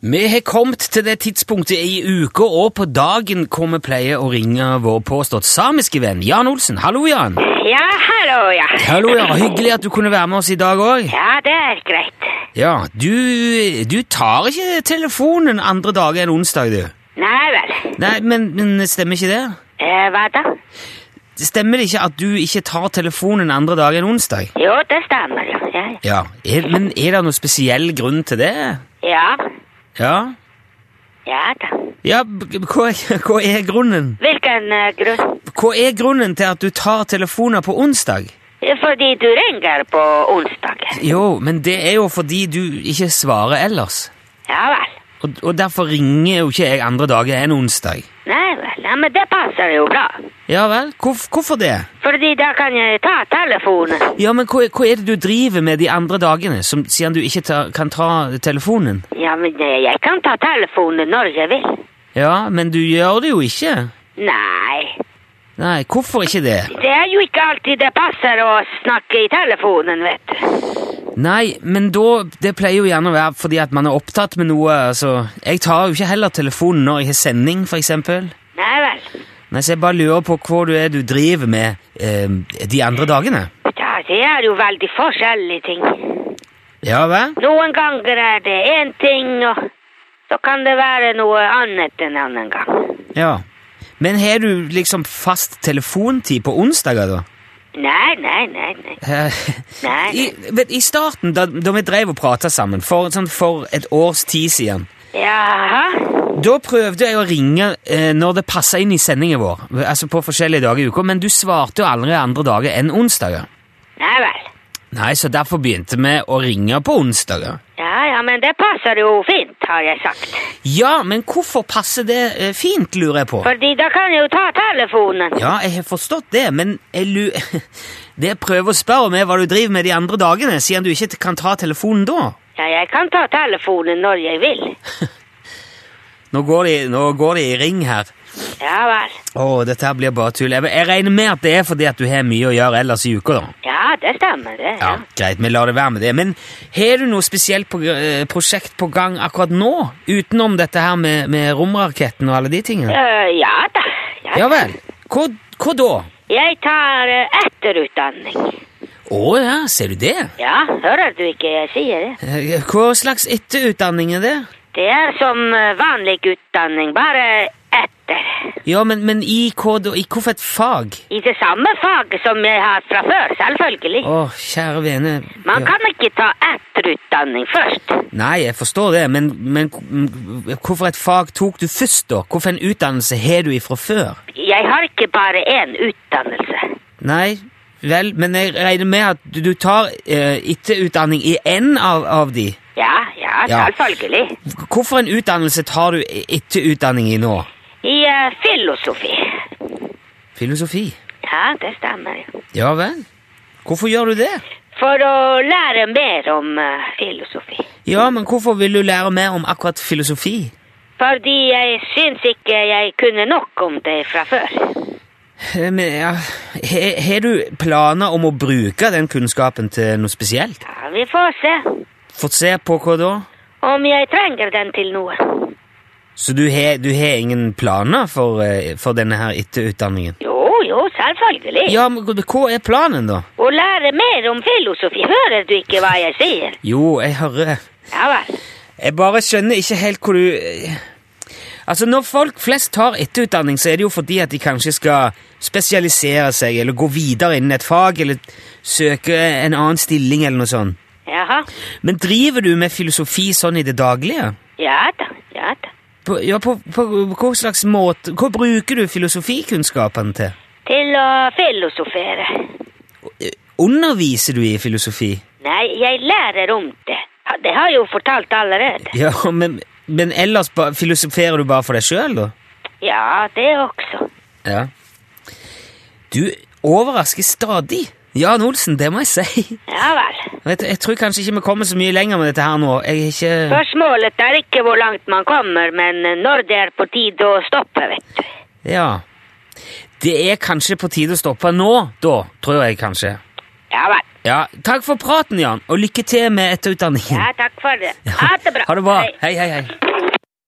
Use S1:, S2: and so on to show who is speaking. S1: Vi har kommet til det tidspunktet i uka og på dagen hvor vi pleier å ringe vår påstått samiske venn Jan Olsen. Hallo, Jan.
S2: Ja, hallo, ja.
S1: Hallo, Jan. Hyggelig at du kunne være med oss i dag òg.
S2: Ja, det er greit.
S1: Ja, du, du tar ikke telefonen andre dager enn onsdag, du.
S2: Nei vel.
S1: Nei, men, men stemmer ikke det?
S2: Eh, hva da?
S1: Stemmer det ikke at du ikke tar telefonen andre dager enn onsdag?
S2: Jo, det stemmer. Ja, ja.
S1: Ja, er, men er det noen spesiell grunn til det?
S2: ja.
S1: Ja,
S2: ja da.
S1: ja b- hva, hva er grunnen?
S2: Hvilken eh, grunn?
S1: Hva er grunnen til at du tar telefoner på onsdag?
S2: Fordi du ringer på onsdag.
S1: Jo, men det er jo fordi du ikke svarer ellers.
S2: Ja vel.
S1: Og, og derfor ringer jo ikke jeg andre dager enn onsdag.
S2: Nei vel. Ja, men det passer jo bra.
S1: Ja vel? Hvorf- hvorfor det?
S2: Fordi da kan jeg ta telefonen.
S1: Ja, men hva, hva er det du driver med de andre dagene, som, siden du ikke ta, kan ta telefonen?
S2: Ja, men eh, jeg kan ta telefonen når jeg vil.
S1: Ja, men du gjør det jo ikke.
S2: Nei.
S1: Nei, hvorfor ikke det?
S2: Det er jo ikke alltid det passer å snakke i telefonen, vet du.
S1: Nei, men da Det pleier jo gjerne å være fordi at man er opptatt med noe. altså... Jeg tar jo ikke heller telefonen når jeg har sending, for eksempel.
S2: Nei vel.
S1: Nei, så jeg bare lurer på hva du er du driver med eh, de andre dagene.
S2: Ja, det er jo veldig forskjellige ting.
S1: Ja vel?
S2: Noen ganger er det én ting, og så kan det være noe annet en annen gang.
S1: Ja. Men har du liksom fast telefontid på onsdager, da?
S2: Nei, nei, nei. nei.
S1: Eh,
S2: Nei.
S1: I, vet, I starten, da, da vi drev og prata sammen, for, sånn for et års tid siden
S2: Jaha.
S1: Da prøvde jeg å ringe eh, når det passa inn i sendingen vår, altså på forskjellige dager i uka, men du svarte jo aldri andre dager enn onsdager.
S2: Nei vel.
S1: Nei, så derfor begynte vi å ringe på onsdager.
S2: Ja, ja, men det passer jo fint, har jeg sagt.
S1: Ja, men hvorfor passer det eh, fint, lurer jeg på?
S2: Fordi da kan jeg jo ta telefonen.
S1: Ja, jeg har forstått det, men jeg lu... Det jeg prøver å spørre om, er hva du driver med de andre dagene, siden du ikke kan ta telefonen da.
S2: Ja, jeg kan ta telefonen når jeg vil.
S1: Nå går de, nå går de i ring her.
S2: Ja vel.
S1: Å, dette her blir bare tull. Jeg, jeg regner med at det er fordi at du har mye å gjøre ellers i uka, da.
S2: Ja, det stemmer, det.
S1: Ja, greit, vi lar det være med det. Men har du noe spesielt på, eh, prosjekt på gang akkurat nå? Utenom dette her med, med romraketten og alle de tingene?
S2: Eh, ja da. Ja.
S1: Ja vel. Hva, hva da?
S2: Jeg tar eh, etterutdanning.
S1: Å ja, ser du det?
S2: Ja, hører du ikke jeg sier det?
S1: Eh, Hva slags etterutdanning er det?
S2: Det er som eh, vanlig utdanning, bare etter.
S1: Ja, men, men i hva da? I hvilket fag?
S2: I det samme faget som jeg har fra før, selvfølgelig.
S1: Å, kjære vene.
S2: Man
S1: Ja.
S2: kan ikke ta etterutdanning først.
S1: Nei, jeg forstår det, men, men hvorfor et fag tok du først, da? Hvorfor en utdannelse har du ifra før?
S2: Jeg har ikke bare én utdannelse.
S1: Nei, vel, men jeg regner med at du, du tar eh, etterutdanning i én av, av de.
S2: Ja, ja,
S1: Ja.
S2: selvfølgelig.
S1: Hvorfor en utdannelse tar du e, etterutdanning i nå?
S2: I eh, filosofi.
S1: Filosofi.
S2: Ja, det stemmer. jo.
S1: Ja vel. Hvorfor gjør du det?
S2: For å lære mer om eh, filosofi.
S1: Ja, men hvorfor vil du lære mer om akkurat filosofi?
S2: Fordi jeg syns ikke jeg kunne nok om det fra før.
S1: Eh, Men, ja, he- har du planer om å bruke den kunnskapen til noe spesielt?
S2: Ja, vi får se
S1: Fått se på hva da?
S2: om jeg trenger den til noe.
S1: Så du har, du har ingen planer for, eh, for denne her etterutdanningen?
S2: Jo, jo, selvfølgelig.
S1: Ja, men hva- hva er planen da?
S2: Å lære mer om filosofi. Hører du ikke hva jeg sier?
S1: Jo, jeg hører
S2: Ja vel.
S1: Jeg bare skjønner ikke helt hvor du eh, Altså, når folk flest tar etterutdanning, så er det jo fordi at de kanskje skal spesialisere seg, eller gå videre innen et fag, eller søke en annen stilling, eller noe sånt.
S2: Jaha.
S1: Men driver du med filosofi sånn i det daglige?
S2: Ja da. Ja da.
S1: På, ja, på, på, hva slags måte Hva bruker du filosofikunnskapene til?
S2: Til å filosofere.
S1: Underviser du i filosofi?
S2: Nei, jeg lærer om det. Ha- Det har jeg jo fortalt allerede.
S1: Ja, men, men ellers ba, filosoferer du bare for deg sjøl, da?
S2: Ja, det også.
S1: Ja. Du overrasker stadig. Jan Olsen, det må jeg si.
S2: Ja vel.
S1: Vet du, jeg tror kanskje ikke vi kommer så mye lenger med dette her nå. Jeg er ikke
S2: Spørsmålet er ikke hvor langt man kommer, men når det er på tide å stoppe, vet du.
S1: Ja. Det er kanskje på tide å stoppe nå, da, tror jeg kanskje.
S2: Ja vel.
S1: Ja, Takk for praten, Jan, og lykke til med etterutdanningen.
S2: Ja, takk for det. Ha det bra.
S1: Ha det bra.
S2: Hei.
S1: Hei, hei, hei.